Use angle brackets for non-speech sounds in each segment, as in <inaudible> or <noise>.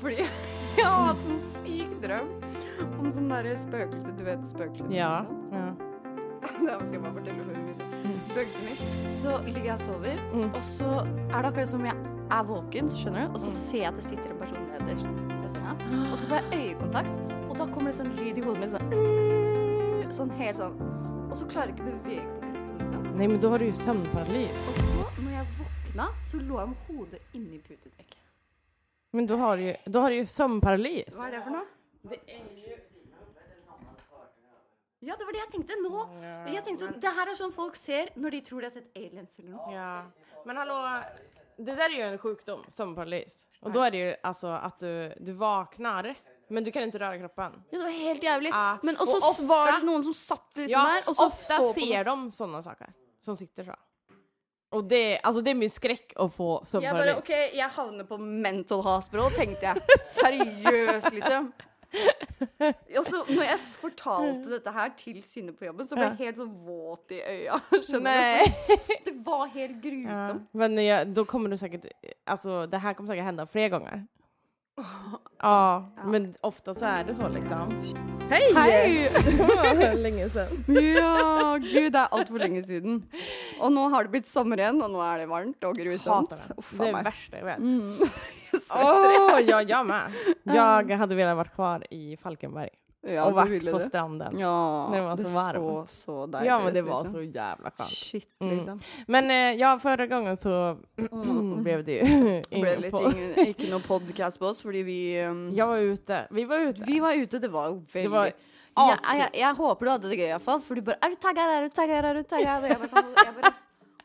Fordi <laughs> jeg har hatt en syk drøm om sånn derre spøkelse Du vet spøkelset? Ja. ikke sant? ja. <laughs> Det skal jeg bare fortelle før vi begynner. Spøkelset mitt. Så ligger jeg og sover, Mm. og så er det akkurat som jeg er våken, skjønner du, og så Mm. ser jeg at det sitter en person nederst ved senga, <gasps> og så får jeg øyekontakt, og da kommer det sånn lyd i hodet mitt, sånn sånn helt sånn. Og så klarer jeg ikke å bevege på kroppen. liksom. Nej men då har du ju sömnparalys. Og så, når jeg våkna, så lå jeg med hodet inni putedekket. Men då har du ju, då har du ju sömnparalys. Hva er det for noe? Ja, det var det jeg tenkte nå. Jeg tenkte sånn, Det her er sånn folk ser når de tror de har sett aliens eller noe. Ja. Men hallå, det där är ju en sjukdom, sömnparalys. Och då är det ju alltså att du, du vaknar, men du kan inte röra kroppen. Ja, det var helt jævlig. Ja, Men og også ofte- var det noen som satt liksom Ja, der. Og så ofta så på ser de sådana saker som sitter så. Och det, alltså det är min skräck att få Jeg bare sömnparalys. OK, jeg havner på mental hospital, tenkte <laughs> jeg. Seriøst, liksom. Og så når jeg s- Mm. fortalte dette her til Synne på jobben, så ble jeg helt sånn våt i øya. Skjønner Nej. du? Det var helt Ja. grusomt. Men jag, då kommer du säkert, alltså det här kommer säkert hända fler <laughs> gånger. Ja, men ofta så är det så liksom. Hej! <laughs> Hej! Länge sedan. Ja, gud, det er altfor lenge siden. Og nå har det blitt sommer igjen, og nå er det varmt og grusomt. Hatar Uff, den. faen Det är det meg. Mm. värsta jag vet. <laughs> Svetter jeg. Mm, Åh, ja, <laughs> jag med. Mm. Jag hade velat vara kvar i Falkenberg Ja, och du varit ville på det. stranden. Ja, När det var så varmt. så så deilig Ja, men det ut, var liksom. så jävla skönt. Shit, Mm. liksom. Men eh, ja, förra gången så Mm. <clears throat> blev det ju Det ble ingen litt på. ingen, ikke noe podcast på oss, fordi vi um, Jag var ute, vi var ute. Vi var ute, det var jo Det veldig var ja, askul. jeg, jeg håper du hadde det gøy, iallfall. For du bare 'Er du tagga? Er du tagga? Er du tagga?' Og jeg bare, sånn, jeg bare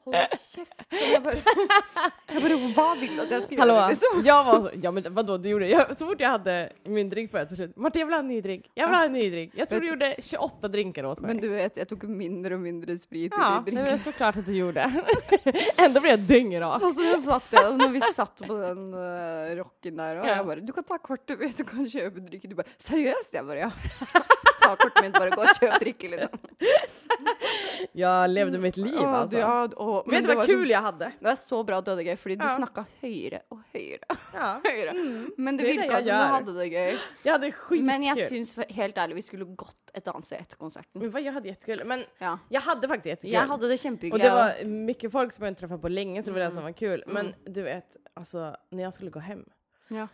Hold kjeft. Og Jeg bare, <laughs> jeg bare Hva vil du at jeg skal Hallå, gjøre? Liksom? jag var så, ja men vadå du gjorde, jag, så fort jag hade min drink på till slut, Martin jag vill ha en ny drink, jag vill ha en ny drink. Jag tror du gjorde 28 drinkar åt mig. Men du vet, jag tok mindre og mindre sprit i ja, de det är drinkene. såklart att du gjorde. <laughs> Ändå blev jag dyngrak. Og så satt jeg, og når vi satt på den eh, rocken der, og Ja. jeg bare 'Du kan ta kortet mitt, du kan kjøpe drikke.' Du bare 'Seriøst?' Jeg bare 'Ja'. <laughs> Ta kortet mitt, bare gå og kjøp drikke, liksom. Jag levde mitt liv Åh, alltså. du- ja, åh, men Vet det du vad var kul jag hade? Det er så bra at du hadde det gøy, fordi du Ja. snakka høyere og høyere. Ja. og høyere. Men det det er det virka jeg som du gjør. hadde det gøy. Jag hade skitkul. Men jeg syns for- helt ærlig vi skulle gått et annet sted etter konserten. Men vad jag hade jättekul. Men Ja. Mm. jag hade faktiskt jättekul. Jeg hadde det och kjempehyggelig. det jeg var mycket folk som jag inte träffat på länge så det var det som var kul. Men du vet, alltså när jag skulle gå hem. også. Ja.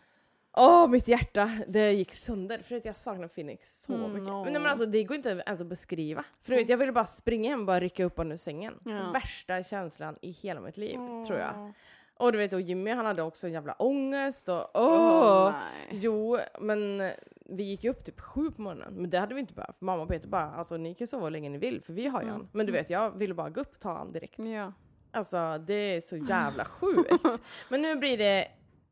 Åh, mitt hjärta! Det gick sönder för att jag saknar Phoenix så Mm, mycket. åh. Men, nej, men alltså, det går inte ens att beskriva. För du vet, jag ville bara springa hem och bara rycka upp honom ur sängen. Ja. Värsta känslan i hela mitt liv, tror jag. Och du vet, och Jimmy han hade också en jävla ångest och åh! Åh, nei. jo, men eh, vi gick ju upp typ sju på morgonen. Men det hade vi inte behövt. Mamma och Peter bara, alltså ni kan sova hur länge ni vill för vi har ju Mm. han. Men du vet, jag ville bara gå upp och ta han direkt. Ja. Alltså det <laughs> är så jävla sjukt. men nu blir det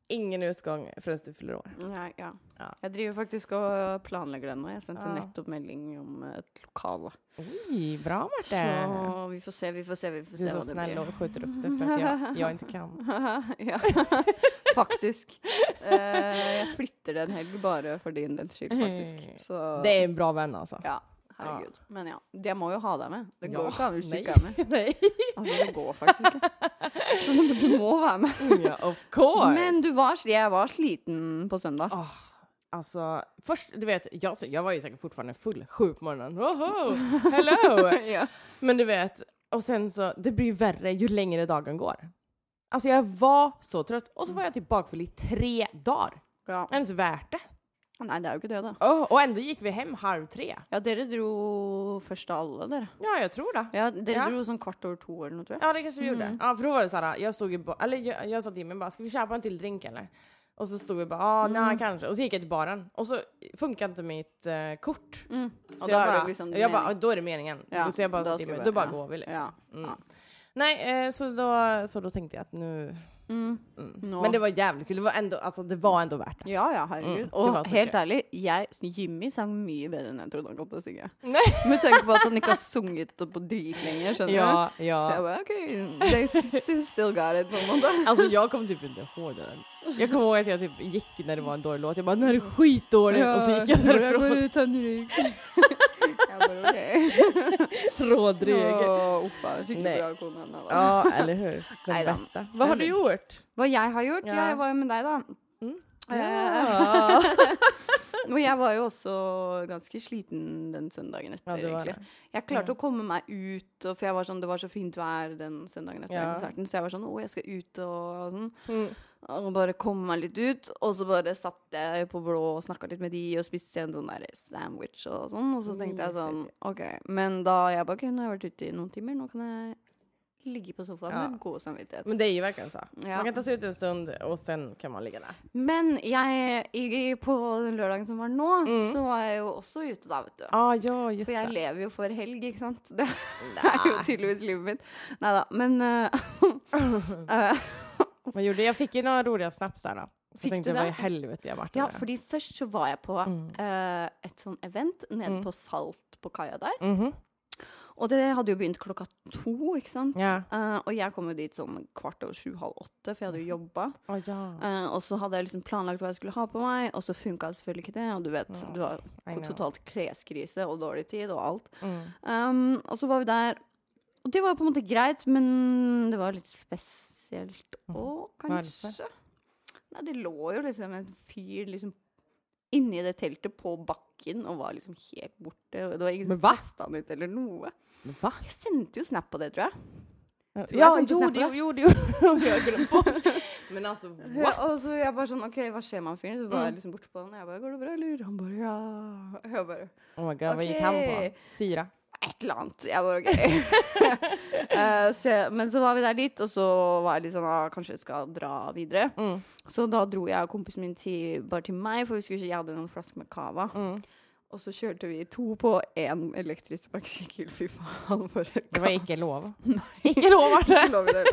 ingen utgång förrän du fyller år. Nei, ja. Ja. Jeg driver faktisk og planlegger den nå. Jeg sendte Ja. nettopp melding om et lokale. Oj, bra Martin! Så vi får se, vi får se, vi får Du är se så hva det snäll blir. och skjuter upp det för att jag, jag inte kan. <laughs> ja, faktisk. Eh, jeg flytter det en helg bare for din dens skyld, faktisk. Så Det är en bra vän alltså. Ja, herregud. Men ja, det må jo ha deg med. Det går Ja, jo ikke an hvis du nej. ikke er med. <laughs> Nej. Altså, det går faktisk ikke. Så du, du må være med. ja, of course! Men du var, jeg var sliten på søndag. Åh, alltså, först, du vet, jag, jag var ju säkert fortfarande full sju på morgonen. Woho! <laughs> Hello! Ja. Men du vet, och sen så, det blir värre ju längre dagen går. Alltså jag var så trött och så var jag typ bakfull i tre dagar. Ja. Ens värt det. Nei, det er jo ikke det, da. Åh, och ändå gick vi hem halv tre. Ja, dere dro først av alle, dere. Ja, jag tror det. Ja, dere Ja. dro sånn kvart over to eller noe, tror jeg. <laughs> Ja det kanske vi Mm. gjorde. Ja, för då var det såhär, jag stod i ba- eller jag, jag sa till Jimmy bara, ska vi köpa en till drink eller? Och så stod vi bara, ah, Mm. nej kanske. Och så gick jag till baren och så funkar inte mitt eh, kort. Så Mm. Och då jag är det bara, liksom jag bara, "Ah, mening. då är det meningen. Ja, så jag bara, då ska då, vi Jimmy, bara- då bara ja. går vi liksom. Ja. Mm. Ja. Nej, eh, så, då, så då tänkte jag att nu... Mm. mm. Nå. Men det var jävligt kul, det var ändå, alltså, det var ändå värt det. ja, ja, herregud. Mm, det var Og så helt gøy. ærlig, jeg, Jimmy sang mye bedre enn jeg trodde han kom til å synge. Nej. Med tanke på at han ikke har sunget på drit lenger, skjønner du? Ja, Så jeg ja. bare, ok, they s- still got it, på en måte. Alltså jag kommer typ inte ihåg den. Jag kommer ihåg att jag typ gick när det var en dålig låt, jag bara, den här är skitdålig! och så gick jag därifrån. <laughs> ut en rygg. jag bara okej. Rådrig. Åh, Uffa, Nej. skikkelig bra kone. Anna, da. Ja, eller hur? Den Nej då. bästa. Vad har du gjort? Hva jeg har gjort? Ja. Jeg var jo med deg, da. Mm. Eh, <laughs> Og jeg var jo også ganske sliten den søndagen etter, Ja, du var egentlig. det. Jeg klarte å komme meg ut, og for jeg var sånn, det var så fint vær den søndagen etter Ja. konserten, så jeg var sånn, å, jeg skal ut og sånn. Mm. Og bare komme meg litt ut, og så bare satt jeg på blå og snakka litt med de, og spiste en sånn der sandwich og sånn, og så Mm, tenkte jeg sånn, ok. Men da jeg bare, ok, nå har jeg vært ute i noen timer, nå kan jeg ligge på sofaen Ja. med god samvittighet. Men det är ju verkligen så. Ja. Man kan ta sig ut en stund och sen kan man ligga där. Men jeg, i, på den lørdagen som var nå, Mm. så var jeg jo også ute da, vet du. Ah, ja, just For jeg det. lever jo for helg, ikke sant? Det er jo tydeligvis livet mitt. Nei da, men <laughs> eh, eh, Vad gjorde jag? Jag fick ju några roliga snaps där då. Så Fick tänkte du jag, vad det? i helvete jag har varit Ja, där. fordi først så var jeg på eh, et sånn event nede Mm. på Salt på kaia der. Mhm. Og det hadde jo begynt klokka to, ikke sant? Ja. Eh, og jeg kom jo dit sånn kvart over sju-halv åtte, for jeg hadde jo jobba. Ah, ja. Eh, og så hadde jeg liksom planlagt hva jeg skulle ha på meg, og så funka selvfølgelig ikke det. Og du vet, Mm. du har I know. totalt kleskrise og dårlig tid og alt. Mm. Um, og så var vi der. Og det var på en måte greit, men det var litt spesielt Mhm. òg, kanskje. Varför? Nei, det lå jo liksom en fyr liksom inni det teltet på bakken og var liksom helt borte. Og det var ingen Men som hva? kasta han ut eller noe. Va? Jeg sendte jo snap på det, tror jeg. Ja, jag jo, tänkte det snappa. gjorde jag. <laughs> Jag glömde bort. Men alltså, <laughs> what? Mm. Og så jeg bare sånn OK, hva skjer med han fyren? Så var jeg liksom borte på han, og jeg bare 'Går det bra, eller?' Han bare 'Ja'. Og Jeg bare Oh my god, vad gick han på? Okej. Syra. et eller annet. Jeg var ok. <laughs> Eh, så, jeg- men så var vi der dit, og så var jeg litt sånn ah, Kanskje jeg skal dra videre. Mm. Så da dro jeg og kompisen min til, bare til meg, for vi skulle ikke, jeg hadde noen flasker med cava. Mm. Og så kjørte vi to på én elektrisk sparkesykkel. Fy faen, for et Det var icke <laughs> lov. Icke lov <laughs> var <laughs> det. kakelov i det.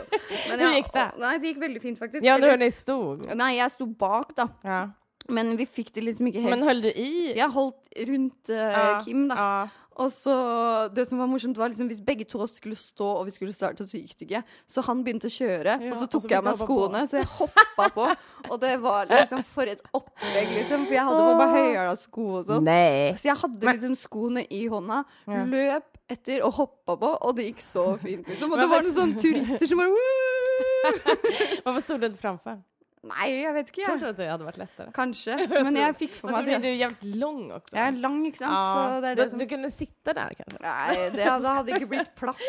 Men Hur gick det? å, Nei, det gikk veldig fint, faktisk. Ja, nu Eller- hör ni stod. Nei, jeg sto bak, da. Ja. Men vi fikk det liksom ikke helt Men höll du i? Jeg holdt rundt eh, Kim, da. Ja. Og så, det som var morsomt var liksom Hvis begge to oss skulle stå og vi skulle starte, så gikk det ikke. Så han begynte å kjøre, Ja, og så og tok så jeg av fikk meg du hoppa skoene, så jeg hoppa på. Og det var liksom for et opplegg, liksom. For jeg hadde på meg høyhæla sko og sånn. Nej. Så jeg hadde liksom skoene i hånda, Ja. løp etter og hoppa på, og det gikk så fint, liksom. Og Men det var hvis- noen sånne turister som bare <laughs> «Woo!» <laughs> Varför stod du inte framför? Nei, jeg vet ikke, Jag jeg. tror att det hade varit lättare. Kanskje. Men jeg fikk for Och så meg det. blir du jävligt lång också. Jeg er lang, ikke sant, Ja. så det er du, det som du kunne sitta där kanske? Nei, det hadde, hadde ikke blitt plass.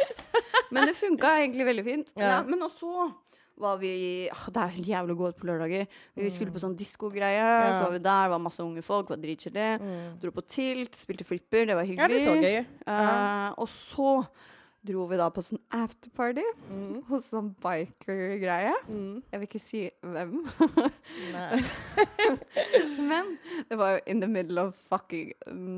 Men det funka egentlig veldig fint. Ja. Ja, men og så var vi ah, Det er jævlig godt på lørdager. Vi Mm. skulle på sånn diskogreie, så var vi der, var masse unge folk, var dritkjedelig. Mm. Dro på tilt, spilte flipper, det var Ja, det hyggelig. såg jag ju. Eh, og så dro vi da på sånn afterparty Mm. hos sånn biker-greie. Jeg vil ikke si hvem, Nej. men det var jo in the middle of fucking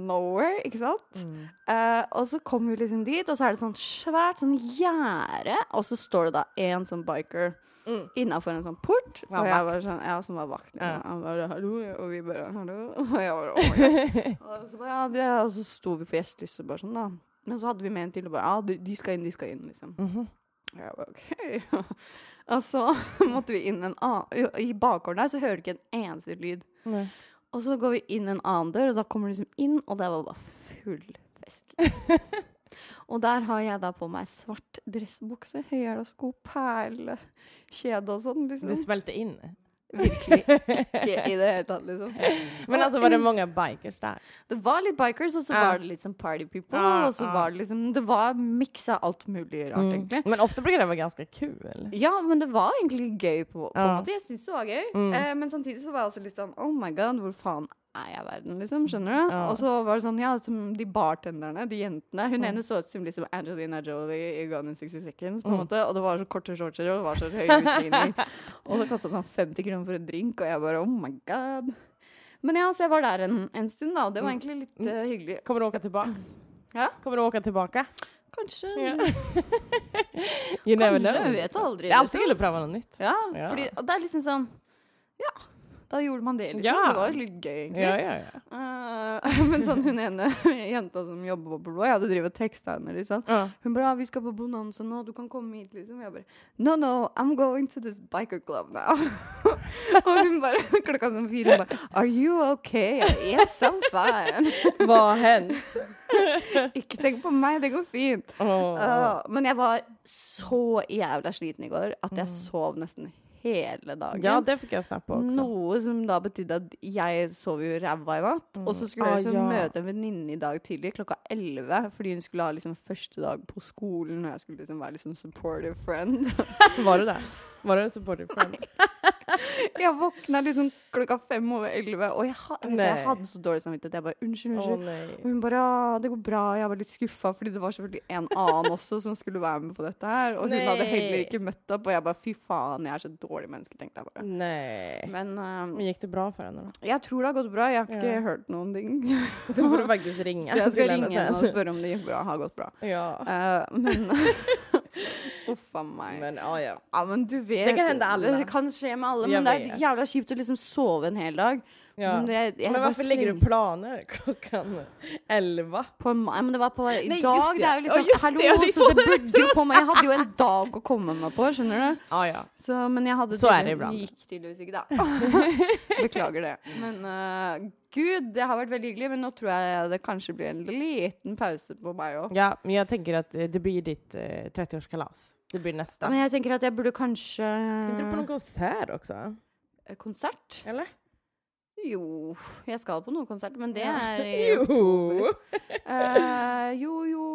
nowhere, ikke sant? Mm. Eh, og så kommer vi liksom dit, og så er det sånn svært sånn gjerde, og så står det da en sånn biker Mm. innafor en sånn port. Var og jeg vakt. var sånn, ja, som var vakt. Ja. Liksom. Han bare 'hallo', og vi bare 'hallo'. <laughs> Og jeg bare, oh my <laughs> God. og, så bare, ja, det, og så sto vi på gjesteliste bare sånn, da. Men så hadde vi med en til og bare 'ja, de, de skal inn, de skal inn', liksom. Mhm. Og jeg bare OK. <laughs> og så <laughs> måtte vi inn en annen I bakgården der så hører du ikke en eneste lyd. Nej. Og så går vi inn en annen dør, og da kommer de liksom inn, og det var bare full <laughs> fest. og der har jeg da på meg svart dressbukse, høyhæla sko, perlekjede og sånn, Du liksom. smälte in. Virkelig ikke i det hele tatt, liksom. Men alltså var det många bikers där? <laughs> Det var litt bikers, og så Ja. var det litt sånn party people, Ja, og så ja. Mm. var det liksom Det var miksa alt mulig rart, egentlig. Men ofta brukar det vara ganska kul. Ja, men det var egentlig gøy på, på en Ja. måte. Jeg syns det var gøy. Mm. Eh, men samtidig så var jeg også litt sånn Oh my god, hvor faen er jeg i verden, liksom? Skjønner du? Ja. Mm. Og så var det sånn, ja, som de bartenderne, de jentene Hun ene så ut som liksom Angelina Jolie i Gone in 60 Seconds, på en Mm. måte. Og det var så korte shortser, og det var så høye <laughs> utligninger. og det kosta sånn 50 kroner for en drink, og jeg bare Oh my god. Men ja, så jeg var der en, en stund, da, og det var Mm. egentlig litt eh, hyggelig. Kommer du åka tillbaks? Ja. Kommer du åka tillbaka? Kanskje. <laughs> Ja. You never Kanskje, know. jeg vet aldri, Det er alltid liksom. kul å prøve noe nytt. Ja, Ja. Fordi, og det er liksom sånn Ja, da gjorde man det, liksom. Ja. Det var jo litt gøy, egentlig. Ja, ja, ja. Eh, <laughs> men sånn hun ene jenta som jobber på Blå, jeg hadde drevet og teksta henne, liksom. Ja. Hun bare 'Ja, 'Vi skal på Bonanza nå, du kan komme hit', liksom. Jeg bare 'No, no, I'm going to this biker club now'. <laughs> og hun <laughs> bare Klokka sånn fire, hun bare 'Are you okay?' Jeg, yes, I'm <laughs> fine. Hva har hendt? <laughs> Ikke tenk på meg, det går fint. Åh. Eh, men jeg var så jævla sliten i går at jeg sov nesten hele dagen. Mm. Ja, det fick jag snabbt på också. Noe som da betydde at jeg sov jo ræva i natt. Og så skulle Ah, jeg liksom ja. møte en venninne i dag tidlig klokka 11, fordi hun skulle ha liksom første dag på skolen, og jeg skulle liksom være liksom supportive <laughs> friend. Var du där? Var du en supportive friend? jeg våkna liksom klokka fem over 11, og jeg, ha, jeg, vet, Nei. jeg hadde så dårlig samvittighet. Jeg bare unnskyld, Åh unnskyld. nej. Og hun bare ja, det går bra. Jeg var litt skuffa, fordi det var selvfølgelig en <laughs> annen også som skulle være med på dette her. Og hun hadde Nei. heller ikke møtt opp, og jeg bare fy faen, jeg er så dårlig menneske, tenkte jeg bare. Nej. Men eh, Men gick det bra för henne då? jeg tror det har gått bra. Jeg har ikke Ja. hørt noen ting. <laughs> Då får du faktiskt Så ringa jeg till skal henne ringe henne og sen. spørre om det gikk bra, har gått bra. <laughs> Ja. Eh, <laughs> men uff a meg. Men ja, ja. ja, men du vet Det kan hende alle. Det kan skje med alle, Jeg men det er vet. jævla kjipt å liksom sove en hel dag. ja. Men, jeg, jeg Men bare varför lägger du trenger- planer klockan 11? på en, Nei, men det var på i Nei, dag. just det. Det er jo Ja, liksom just det, Hallo, jeg fikk så på det det burde jo på meg. Jeg hadde jo en dag å komme meg på, skjønner du. Ja, ja. Så, men jeg hadde Så tydelig- er det ibland. gikk tydeligvis ikke, da. <laughs> Beklager det. Men eh, gud, det har vært veldig hyggelig, men nå tror jeg det kanskje blir en liten pause på meg òg. Ja, men jag tänker att eh, det blir ditt eh, 30-årskalas. Det blir nästa. Men jeg tenker at jeg burde kanskje Ska inte du på någon konsert också? eh, konsert? Eller? Jo, jeg skal på noen konsert, men det <laughs> er i <laughs> Jo! Eh, jo, jo.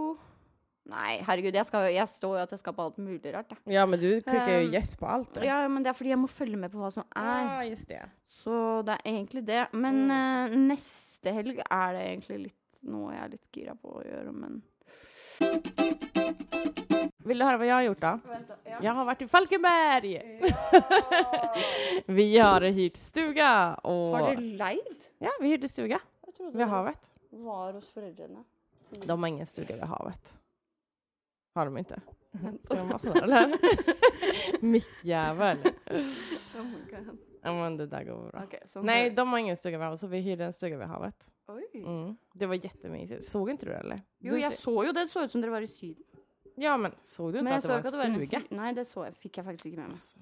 Nei, herregud, jeg, skal, jeg står jo at jeg skal på alt mulig rart. Jeg. Ja, men du klickar ju Ehm, yes på allt. du. Ja, men det er fordi jeg må følge med på hva som er. Ja, just det. Så det er egentlig det. Men eh, neste helg er det egentlig litt noe jeg er litt gira på å gjøre, men Vill du höra vad jag har gjort då? Jag har varit i Falkenberg! <laughs> vi har hyrt stuga och... Har Mm. dere leid? Ja, vi hyrde stuga Jeg trodde vid havet. det var hos foreldrene. De har ingen stuga vid havet. Har de inte? Ska de vara sådana eller? Mickjävel. Ja men det där går bra. Ok, så Nej, de har ingen stuga vid havet så vi hyrde en stuga vid havet. Oi. Mm. Det var jättemysigt. Såg inte du det eller? Jo, du jeg se- så jo det. Det så ut som dere var i Syden. Ja men såg du inte Men jeg att det så var ikke at en det var en stuga? hy- Nei, det så jeg. fikk jeg faktisk ikke med meg. Alltså,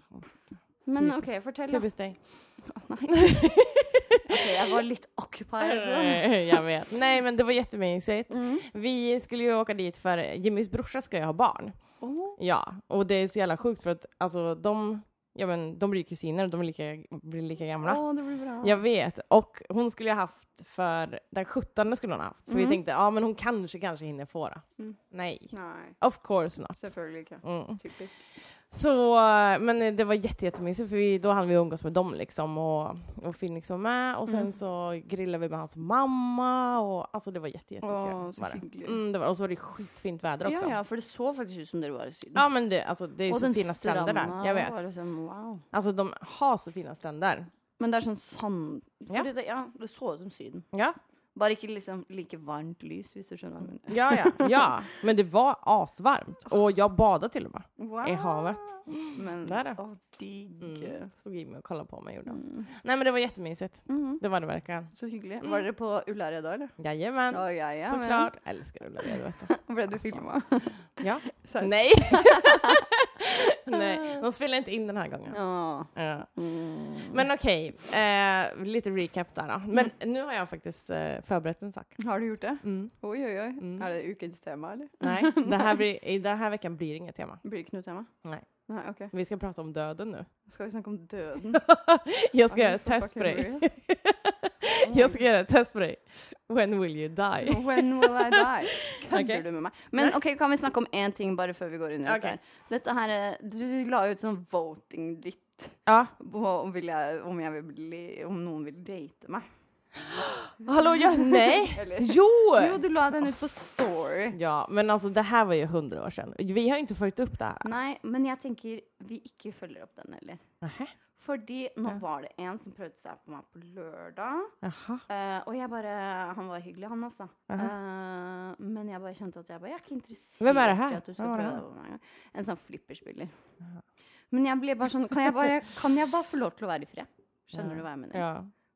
Men OK, Typisk. fortell, da. Typiskt dig. <laughs> Nei. OK, jeg var litt <laughs> occupied. jag vet. Nej men det var jättemysigt. Mm. Vi skulle ju åka dit för Jimmys brorsa ska ju ha barn. Oh. Ja, och det är så jävla sjukt för att alltså de, ja men de blir ju kusiner och de är lika, blir lika gamla. det blir bra. Jag vet, och hon skulle ju ha haft för den 17 skulle hon ha haft. Så vi Mm. tänkte, ja men hon kanske, kanske hinner få det. Mm. Nej, Nei, of course not. selvfølgelig ikke. Mm. Typisk. Så, eh, men det var jätte, jättemysigt för vi, då hann vi umgås med dem liksom och, och Phoenix var med och sen Mm. så grillade vi med hans mamma och alltså det var jätte, jättekul. Åh, så var det. hyggligt. Mm, det var, och så var det skitfint väder också. Ja, Ja, ja, for det så faktisk ut som dere var i Syden. men det, alltså, det är Og så den fina stränder stranda där, jag vet. var liksom, wow. Alltså de har så fina stränder. Men det er sånn sand... Ja. Fordi Det, ja, det så ut som Syden. Ja, Bare ikke liksom like varmt lys, hvis du skjønner hva jeg mener. ja, ja. ja. Men det var asvarmt och jeg badade till och med. Wow. I havet. Men Det er det. å, digg. Mm. Stod Jimmy och kollade på mig gjorde han. Mm. Nej men det var jättemysigt. Mhm. Det var det verkligen. Så hyggelig. Mm. Var dere på Ullared da, eller? Jajamän. Ja, ja, ja. men- Såklart. Älskar Ulla det, du <laughs> vet. Ble du <laughs> Altså. filma? Ja. Serr. <laughs> Nej. Nej, de spelar inte in den här gången. Ja. Ja. Mm. Men okej, eh, lite recap där då. Men nu har jag faktiskt eh, förberett en sak. Har du gjort det? Mm. Oi, oi, oi. Mm. Er det ukens tema, eller? Nej, det här blir, i den här veckan blir inget tema. Blir det ikke noe tema? Nej. Nei, OK. Vi ska prata om döden nu. Skal vi snakke om <laughs> døden? <laughs> Oh jag ska Are göra you ett for test på fucking dig. real? Oh my <laughs> Jag ska göra ett test på dig. When will you die? When will I <laughs> die? Kødder Ok. du med meg? Men ok, kan vi snakke om én ting bare før vi går inn i Ok. dette? her? Dette her, eh, Du la jo ut sånn voting ditt Ja. på om, vil jeg, om, jeg vil bli, om noen vil date <gasps> meg. Hallå, jag, nej! <laughs> Eller? Jo! <laughs> Jo, du la den ut på Story. Ja, men alltså det här var ju hundra år sedan. Vi har inte följt upp det här. Nei, men jag tenker vi ikke følger opp den heller. Nähä. Fordi nå Ja. var det en som prøvde seg på meg på lørdag. Jaha. eh, og jeg bare Han var hyggelig, han altså. Eh, men jeg bare kjente at jeg bare Jeg er ikke interessert Hvem er det her? i at du skal Hvem var det prøve på meg engang. En sånn flipperspiller. Men jeg ble bare sånn Kan jeg bare, kan jeg bare få lov til å være i fred? Skjønner du hva jeg mener? Ja.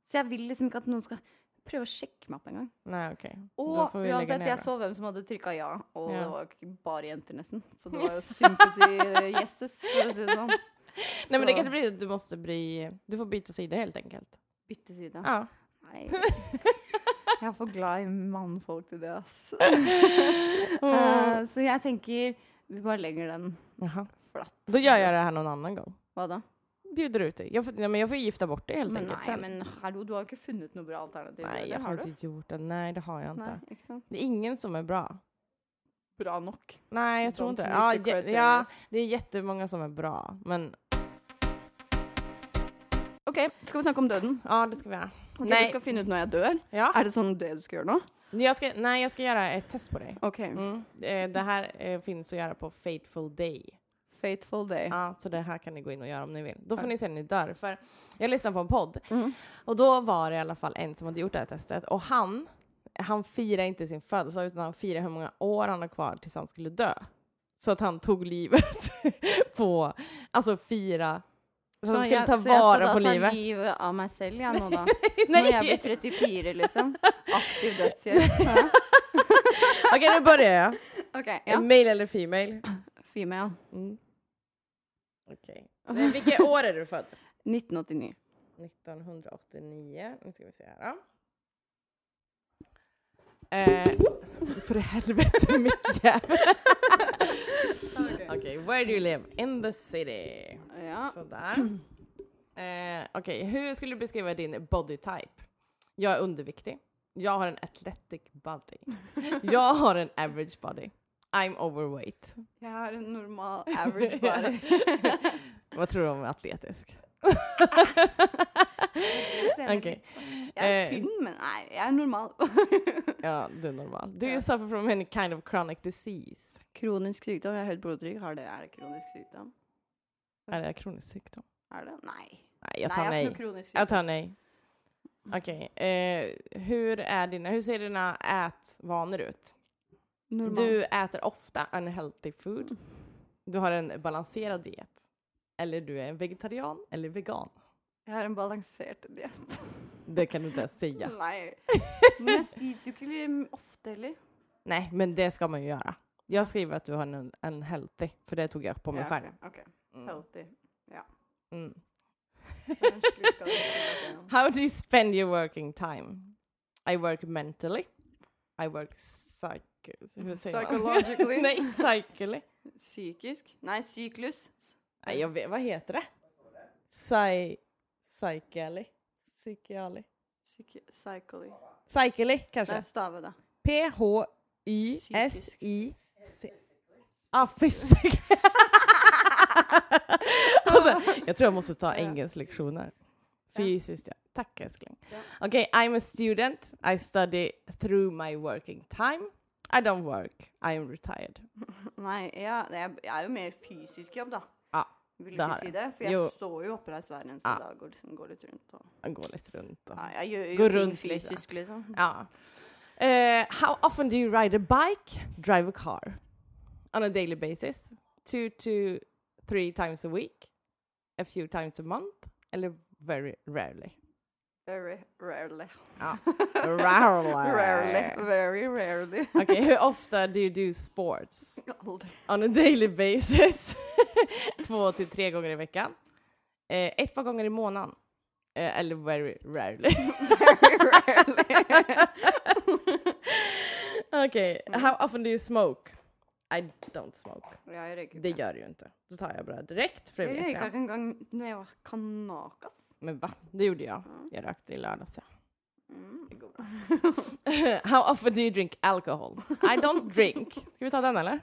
Så jeg vil liksom ikke at noen skal prøve å sjekke meg opp engang. Nej, okej. Då Og får vi lägga uansett, ner jeg då. så hvem som hadde trykka ja, og Ja. det var jo ikke bare jenter, nesten. Så det var jo sympathy <laughs> yeses, for å si det sånn. Nej men det Så- kanske blir att du måste bli, du får byta sida helt enkelt. Bytte side. Ja. Nei. <laughs> Jeg er for glad i mannfolk til det, <laughs> ass. Åh. Eh, så jeg tenker vi bare legger den Jaha. flatt. Då gör jag det här någon annan gång. Hva da? bjuder ut dig. Jag får, nej, men jag får gifta bort dig helt Men enkelt nej, sen. men hallå, du har ikke funnet noe bra alternativ. nej, det jag har har du. inte gjort det. Nej, det har jag inte. Nei, ikke sant? Det är ingen som är bra. Bra nok. Nej, jag tror Don't inte det. need Ja, to jä- criticize. ja, det är jättemånga som är bra. Men Ok, skal vi snakke om døden? ja, det ska vi göra. Ok, Nei. Du skal finne ut når jeg dør. Ja. Er det sånn det du skal gjøre nå? Jag ska, nej, jag ska göra ett test på dig. Ok. Mm. Eh, Det här eh, finns att göra på Fateful Day. Fateful day. Ja, så det här kan ni gå in och göra om ni vill. Då får Ja. ni se när ni dör. För jag lyssnade på en podd Mhm. och då var det i alla fall en som hade gjort det här testet och han, han firar inte sin födelsedag utan han firar hur många år han har kvar tills han skulle dö. Så att han tog livet <laughs> på, alltså fira, så, han skulle jeg- så ta jeg skal vara da på ta livet. livet av meg selv, jeg nå <laughs> da. Når jeg Nej! blir 34, liksom. Aktiv dødshjelp. Ja. <laughs> Okej, nu börjar jag. Ok, ja. Male eller female? Female. Mm. Okej. Men Vilket år är du född? 1989. 1989. Nu ska vi se här. då. Eh, för helvete, <laughs> mickjävel! Okej, where do you live? In the city. Ja. <clears throat> Sådär. Eh, Okej, hur skulle du beskriva din body type? Jag är underviktig. Jag har en athletic body. Jag har en average body. I'm overweight. Jeg har en normal <laughs> average body. <laughs> <laughs> Vad tror du om atletisk? Trener Okej. litt. Jeg er Eh. tynn, men nei, jeg er normal. <laughs> Ja, du är normal. Do you Ja. suffer from any kind of chronic disease? Kronisk sykdom. Jeg har høyt blodtrykk. Har det, er det kronisk sykdom? Är det kronisk sjukdom? Er det? Nei. Nej, jag tar Nei, nej. jeg har ikke noe kronisk sykdom. Jag tar nej. Okej, eh, hur, är dina, hur ser dina ätvanor ut? Normal. Du äter ofta unhealthy food. Du har en balanserad diet. Eller du är en vegetarian eller vegan. Jeg har en balansert diett. Det kan du inte ens <laughs> säga. Nei. Men jeg spiser jo ikke ofte heller. Nej, men det ska man ju göra. Jag skriver att du har en unhealthy, för det tog jag på mig Ja, själv. ok, ok. Mm. Healthy. <laughs> Mm. Den slukade jeg gjennom. How do you spend your working time? I work mentally. I work psycho... hur säger man? Psychologically. Nej, psychically. Psykisk? Nei, syklus. Nej, jag vet, vad heter det? Psy... Psychically. Psychically. Psyki Psychically. Psychically Nei, kanske. stave det. P-H-Y-S-I-C... Ah, fysisk. <laughs> alltså, jag tror jag måste ta Ja. engelsklektioner. Ja. Fysiskt, ja. Tack älskling. Ja. Okej, I'm a student. I study through my working time. I don't work. I am retired. Nei, ja, det er, jeg er jo mer fysisk jobb, da. Ja, Vil det har ikke si det, for jeg Jo. står jo oppreist hver eneste Ja. dag og liksom går litt rundt. Og, Jag går lite runt. Och... ja, jeg gjør jo Går ting rundt litt, fysisk, liksom. Ja. Eh, how often do you ride a bike, drive a car? On a daily basis? Two to three times a week? A few times a month? Eller very rarely? Very rarely. Ja. Rarely. rarely. Very rarely. Okej, hur ofta do you do sports? Aldri. On a daily basis? <laughs> Två till tre gånger i veckan? Eh, ett par gånger i månaden? Eh, eller very <laughs> rarely? Very rarely. <laughs> <laughs> Okej, how often do you smoke? I don't smoke. Jeg røyker Det ikke. gör du ju inte. Då tar jag bara direkt för det Jeg vet røyka jag. ikke engang når jeg var kanakas. Men va? Det gjorde jag. Ja. Jag rökte i lördags ja. <laughs> Mm. Det går bra. How often do you drink alcohol? I don't drink. Ska vi ta den eller?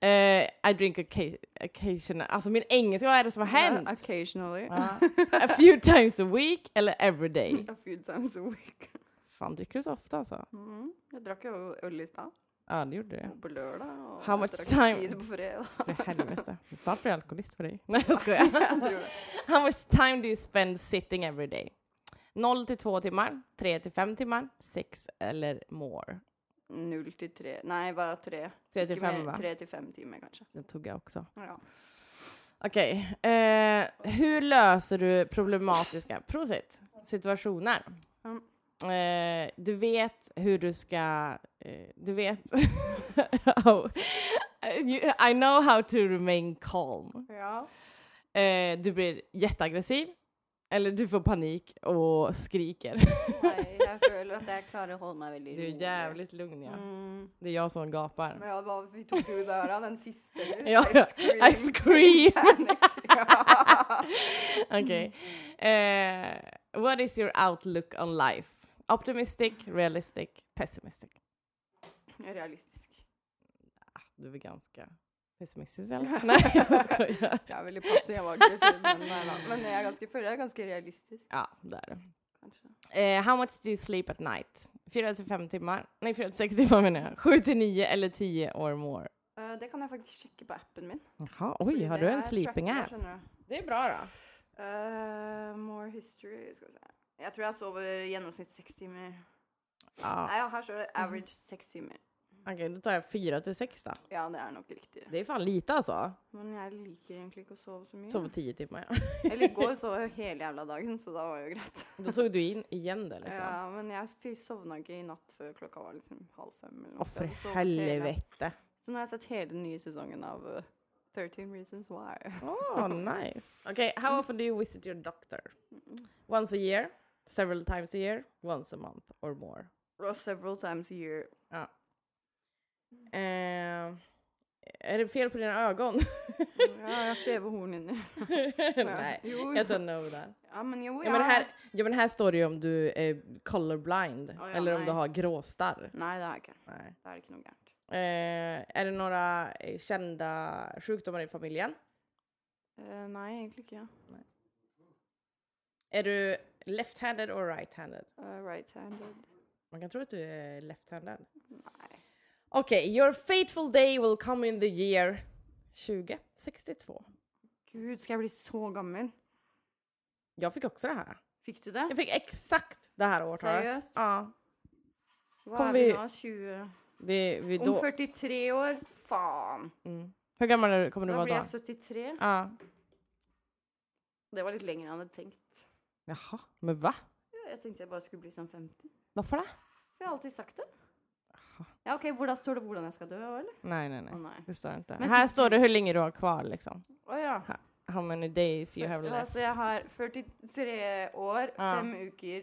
Eh, I drink occa- occasionally. Alltså min engelska, vad är det som har hänt? Occasionally. <laughs> Ja. a few times a week eller every day? A few times a week. Fan dricker du så ofta alltså? Mm. Jag drack ju öl i stad, Ja det gjorde du. och på lördag och How jag much drack time? cider på fredag. För <laughs> helvete. Snart blir jag alkoholist för dig. Nej <laughs> jag skojar. tror det. How much time do you spend sitting every day? 0 till 2 timmar, 3 till 5 timmar, 6 eller more. Null till tre, nej bara tre. 3 Inte till mer, 5 va? Tre till fem timmar kanske. Det tog jag också. Ja. Okej. Eh, hur löser du problematiska prosit, situationer? Mm. Eh, du vet hur du ska... Eh, du vet... <laughs> oh. You- I know how to remain calm. ja. Eh, du blir jätteaggressiv. Eller du får panik och skriker. Mm. Nej, jag känner att jag klarar att hålla mig väldigt Du är rolig. jävligt lugn ja. Mm. Det är jag som gapar. <laughs> Men jag bara, vi tog ju där den sista. Ja, ja. I scream. Panic. <laughs> Ja. okay. Uh, what is your outlook on life? Optimistic, realistic, pessimistic? Ah, Realistisk. Du är ganska pessimistisk eller? <laughs> Nej, jag skojar. Jag ville passiv aggressiv men, nej då. men jag är ganska för jag är ganska realistisk Ja, det är det. kanske. Eh, how much do you sleep at night? 4 till 5 timmar? Nej, 4 till 6 timmar menar jag. 7 till 9 eller 10 or more? Eh, det kan jag faktiskt checka på appen min. Jaha, oj, Fordi har det du en är sleeping trackar, app? skjønner du. Det är bra då. Eh, more history, skal vi se. Jeg tror jeg sover i gjennomsnitt seks timer. Ja. Nei, her står det average seks timer. Okej, då tar jag 4 till 6 då. Ja, det er nok riktig. Det är fan lite alltså. Men jeg liker egentlig ikke å sove så mye. Sov 10 timmar. Ja. <laughs> Eller i går sov jeg jo hele jævla dagen, så da var det jo greit. Då såg du in igen det liksom. Ja, men jeg fy- sovna ikke i natt før klokka var liksom halv fem. eller noe. Åh, Jeg för hadde sovet hele- helvete. Så nå har jeg sett hele den nye sesongen av eh, 13 Reasons Why. <laughs> Oh, nice. Okay, how often do you visit your doctor? Mm. Once a year, several times a year, once a month or more. Og several times a <laughs> year. Eh, är det fel på dina ögon? <laughs> Ja, jeg har skjeve horn inni. Nej, Jo, jag don't know that. Ja, men jo, Ja, men här, ja, men här står det ju om du är colorblind Ja, ja, eller om nej. du har gråstarr. Nei, det er jeg ikke. Nej. Det er ikke noe gærent. Eh, är det några eh, kända sjukdomar i familjen? Eh, nei, egentlig ikke. Ja. Är du left-handed or right-handed? Eh, Right-handed. Man kan tro att du är left-handed. Nei. Okej, your fateful day will come in the year 2062. Gud, skal jeg bli så gammel? Jag fick också det här. Fikk du det? Jag fick exakt det här årtalet. Seriöst? Ja. Hva Kom er vi vi- nå? 20... Vi, vi Om då. 43 år? Faen! Mm. Hur gammal är du? kommer du Da vara blir då? jeg 73. Ja. Det var litt lenger enn jeg hadde tenkt. Jaha, men va? Ja, Jeg tenkte jeg bare skulle bli sånn 50. Varför det? For jeg har alltid sagt det. Ja, OK, hvordan står det hvordan jeg skal dø, eller? Nej, nej, Å nej. nei. Det står inte. Men- här står det hur länge du har kvar liksom. Å ja. How many days you have Ja, left. så jeg alltså, har 43 år, Ja. fem uker,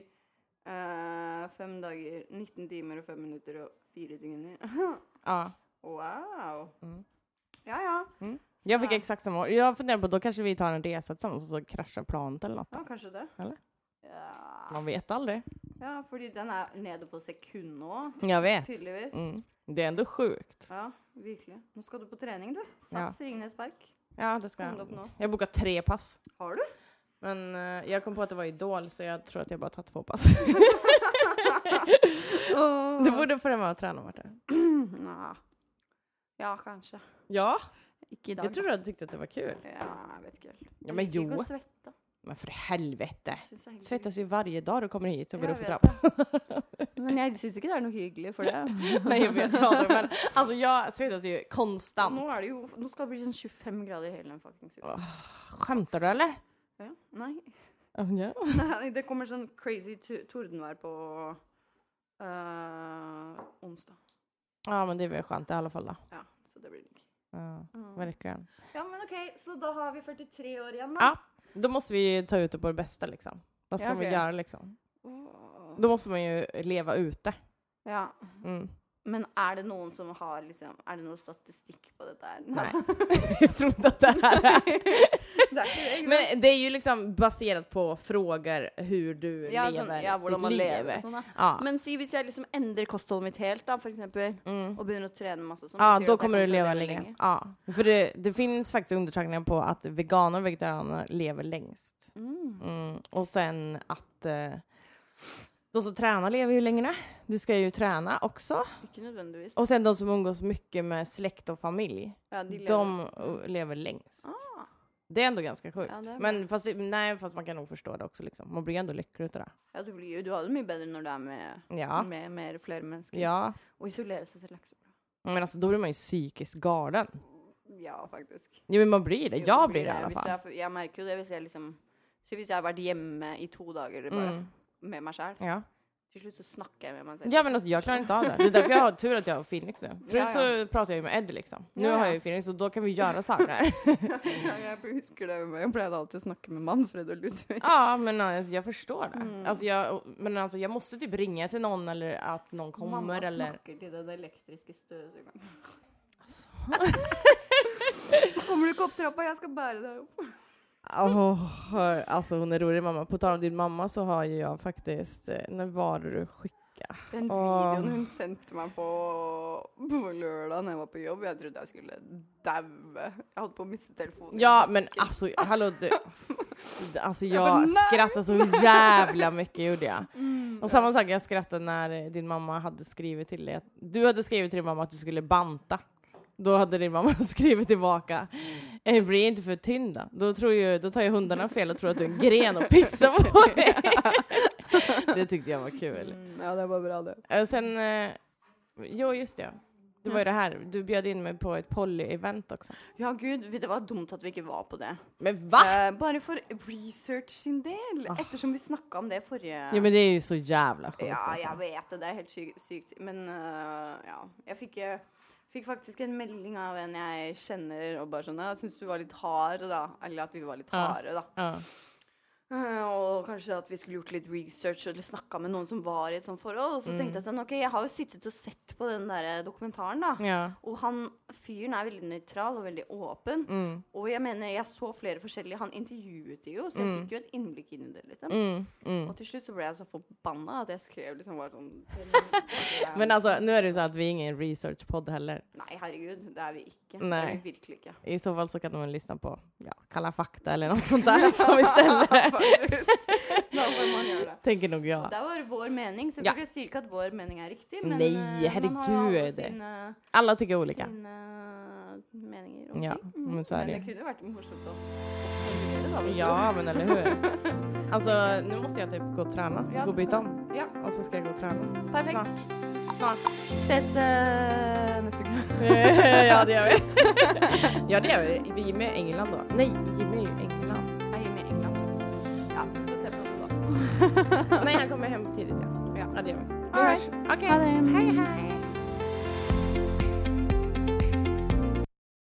eh, fem dager, 19 timer og 5 minutter og 4 sekunder. <laughs> Ja. wow! Mm. Ja, ja. Jag fick Ja. exakt samma år. Jag funderar på då kanske vi tar en resa tillsammans och så kraschar planet eller något. Ja, kanskje det. Eller? Ja. Man vet aldrig. ja, fordi den er nede på sekund nå, Jag vet. tydeligvis. Mm. Det är ändå sjukt. Ja, virkelig. Nå skal du på trening, du. Sats Ringnes Park. Ja, det ska Kom det upp <laughs> jag. nå? <laughs> Jag bokar tre pass. Har du? Men eh, jag kom på att det var Idol så jag tror att jag bara tar två pass. Åh. <clears throat> <laughs> du borde följa med och träna Marta. Nja. Ja, kanskje. Ja, Ikke i dag. jag trodde du tyckte att det var kul. da. Ja, jeg vet ikke helt. Ja, men Jeg liker jo. Ikke å svette. Men för helvete. Synes jeg er helt Svettas ju varje dag du kommer hit och går Jag upp i vet trappan. det. Men jag syns inte det är något hyggligt för det. <laughs> Nej jag vet <laughs> aldrig men alltså jag svettas ju Nu konstant. är det ju, nu ska det bli sån 25 grader i hela den fucking city. Skämtar du eller? Ja. Nej. Ja. Nej, det kommer sån crazy tu- tordenvär på eh, onsdag. Ja men det är väl skönt i alla fall då. Ja, så det blir digg. Ja, Mm. verkligen. Ja, men okej, så då har vi 43 år igen då. Ja. Då måste vi ju ta ut det på det bästa liksom. Vad ska Ja, man okej. göra liksom? Åh. Då måste man ju leva ute. Ja, Mm. men är det någon som har liksom, är det någon statistik på det där? Nej. <laughs> jag tror inte att det här är... <laughs> det är inte det. Men det är ju liksom baserat på frågor hur du ja, lever sånn, ja, hvordan ditt man liv. lever. og Sånn, da. Ja. Men si hvis jeg liksom endrer kostholdet mitt helt, da, for eksempel, Mm. og begynner å trene masse sånn betyr Ja, då det at jeg kommer du til å leva längre. Ja. För det, det finns faktiskt undersökningar på att veganer och vegetarianer lever längst. Mm. Mm. Och sen att eh, de som tränar lever ju längre. Du ska ju träna också. Ikke nødvendigvis. Och sen de som umgås mycket med släkt och familj, Ja, de de, lever. eh, lever längst. Ah, Det är ändå ganska sjukt. Ja, det är men fast, det- nej, fast man kan nog förstå det också. Liksom. Man blir ändå lycklig utav det. ja, du, blir, jo- du har det mye bedre når du er med, Ja. med, mer- flere mennesker. ja. Og isolere seg selv er ikke så bra. Men alltså, då blir man ju psykiskt galen. Ja, faktisk. Jo, men man blir det. Jo, Jag det blir det i alla hvis fall. Jeg, for- jeg merker jo det hvis jeg liksom så Hvis jeg har vært hjemme i to dager bare Mm. med meg sjæl, Ja. til slutt så snakker jeg med meg selv. Ja men alltså, jag klarar inte av det. Det är därför jag har tur att jag har Phoenix nu. Förut <laughs> Ja, ja. så pratar jag ju med Ed liksom. Nu Ja, ja. har jag ju Phoenix och då kan vi <laughs> göra saker. <laughs> Ja, jeg husker det, men jeg pleide alltid å snakke med Manfred og Ludvig. ja men alltså, jag förstår det. Mm. Alltså, jag, men alltså jag måste typ ringa till någon eller att någon <laughs> kommer Mamma eller... snakker til den elektriske støvsugeren. Alltså. <laughs> Kommer du ikke opp trappa? Jeg skal bære deg opp. Åh, alltså hon är rolig mamma. På tal om din mamma så har ju jag faktiskt, eh, när var det du skickade? Den Åh. videon hon sendte meg på, på lørdag når jeg var på jobb, jeg trodde jeg skulle daue. Jeg holdt på å miste telefonen. Ja men alltså hallå du. Alltså Jag bara, jag nej, skrattade så jävla mycket gjorde jag. Mm. Och samma sak, jag skrattade när din mamma hade skrivit till dig att, du hade skrivit till din mamma att du skulle banta. Då hade din mamma <laughs> skrivit tillbaka, "Eh, bli inte för tynn då. Då, tror ju, då tar ju hundarna fel och tror att du är en gren och pissar på <laughs> dig. Det tyckte jag var kul. Mm, Ja, det var bra, det. Eh, Sen, eh, jo just det. Det var ju det här, du bjöd in mig på ett polly-event också. Ja, gud, vet du hva dumt at vi ikke var på det. Men va? Eh, bare for research sin del, Ah. ettersom vi snakka om det forrige Ja men det är ju så jävla sjukt Ja, alltså. jag vet det. Det är helt sy- sykt. Men eh, ja, jag fick, eh, fick faktiskt en melding av en jag känner och bara sån, jag syns du var lite hard då. Eller att vi var lite Ja. harda då. Ja. Eh, och kanske att vi skulle gjort lite research eller snacka med någon som var i ett sånt förhåll. Och så Mm. tänkte jag sen, okej, jag har ju suttit och sett på den där dokumentären då. ja. Och han fyren är väldigt neutral och väldigt öppen. Mm. Och jag menar, jag såg flera olika, han intervjuade ju, så jag Mm. fick ju ett inblick in i det lite. Mm. Mm. Och till slut så blev jag så förbannad att jag skrev liksom bara <laughs> sån... Men alltså nu är det ju så att vi är ingen researchpodd heller. Nej, herregud, det är vi inte. Det är Nej. vi verkligen inte. I så fall så kan man lyssna på ja, Kalla fakta eller något sånt där <laughs> liksom istället. <laughs> Faktiskt. Då får man göra <laughs> det. Tänker nog jag. Det var vår mening, så jag Ja. brukar styrka att vår mening är riktig. Men Nej, eh, man har ju herregud. alla sina, Alla tycker olika. sina meningar. om Ja, ting. men så är men det det ju. kunde varit morsomt att Ja men eller hur. Alltså nu måste jag typ gå och träna, Ja. gå och byta om. Ja, Och så ska jag gå och träna. perfekt. Snart. Snart. Ses eh, nästa gång. <laughs> Eh, ja det gör vi. <laughs> ja det gör vi. Vi är med i England då. Nej, Jimmy är ju i England. Jag är med i England. Ja, så ses vi då. Nej han kommer hem tidigt ja. Ja. Ja det gör vi. Vi All right. hörs. Okej. Ha det. Hej, hej.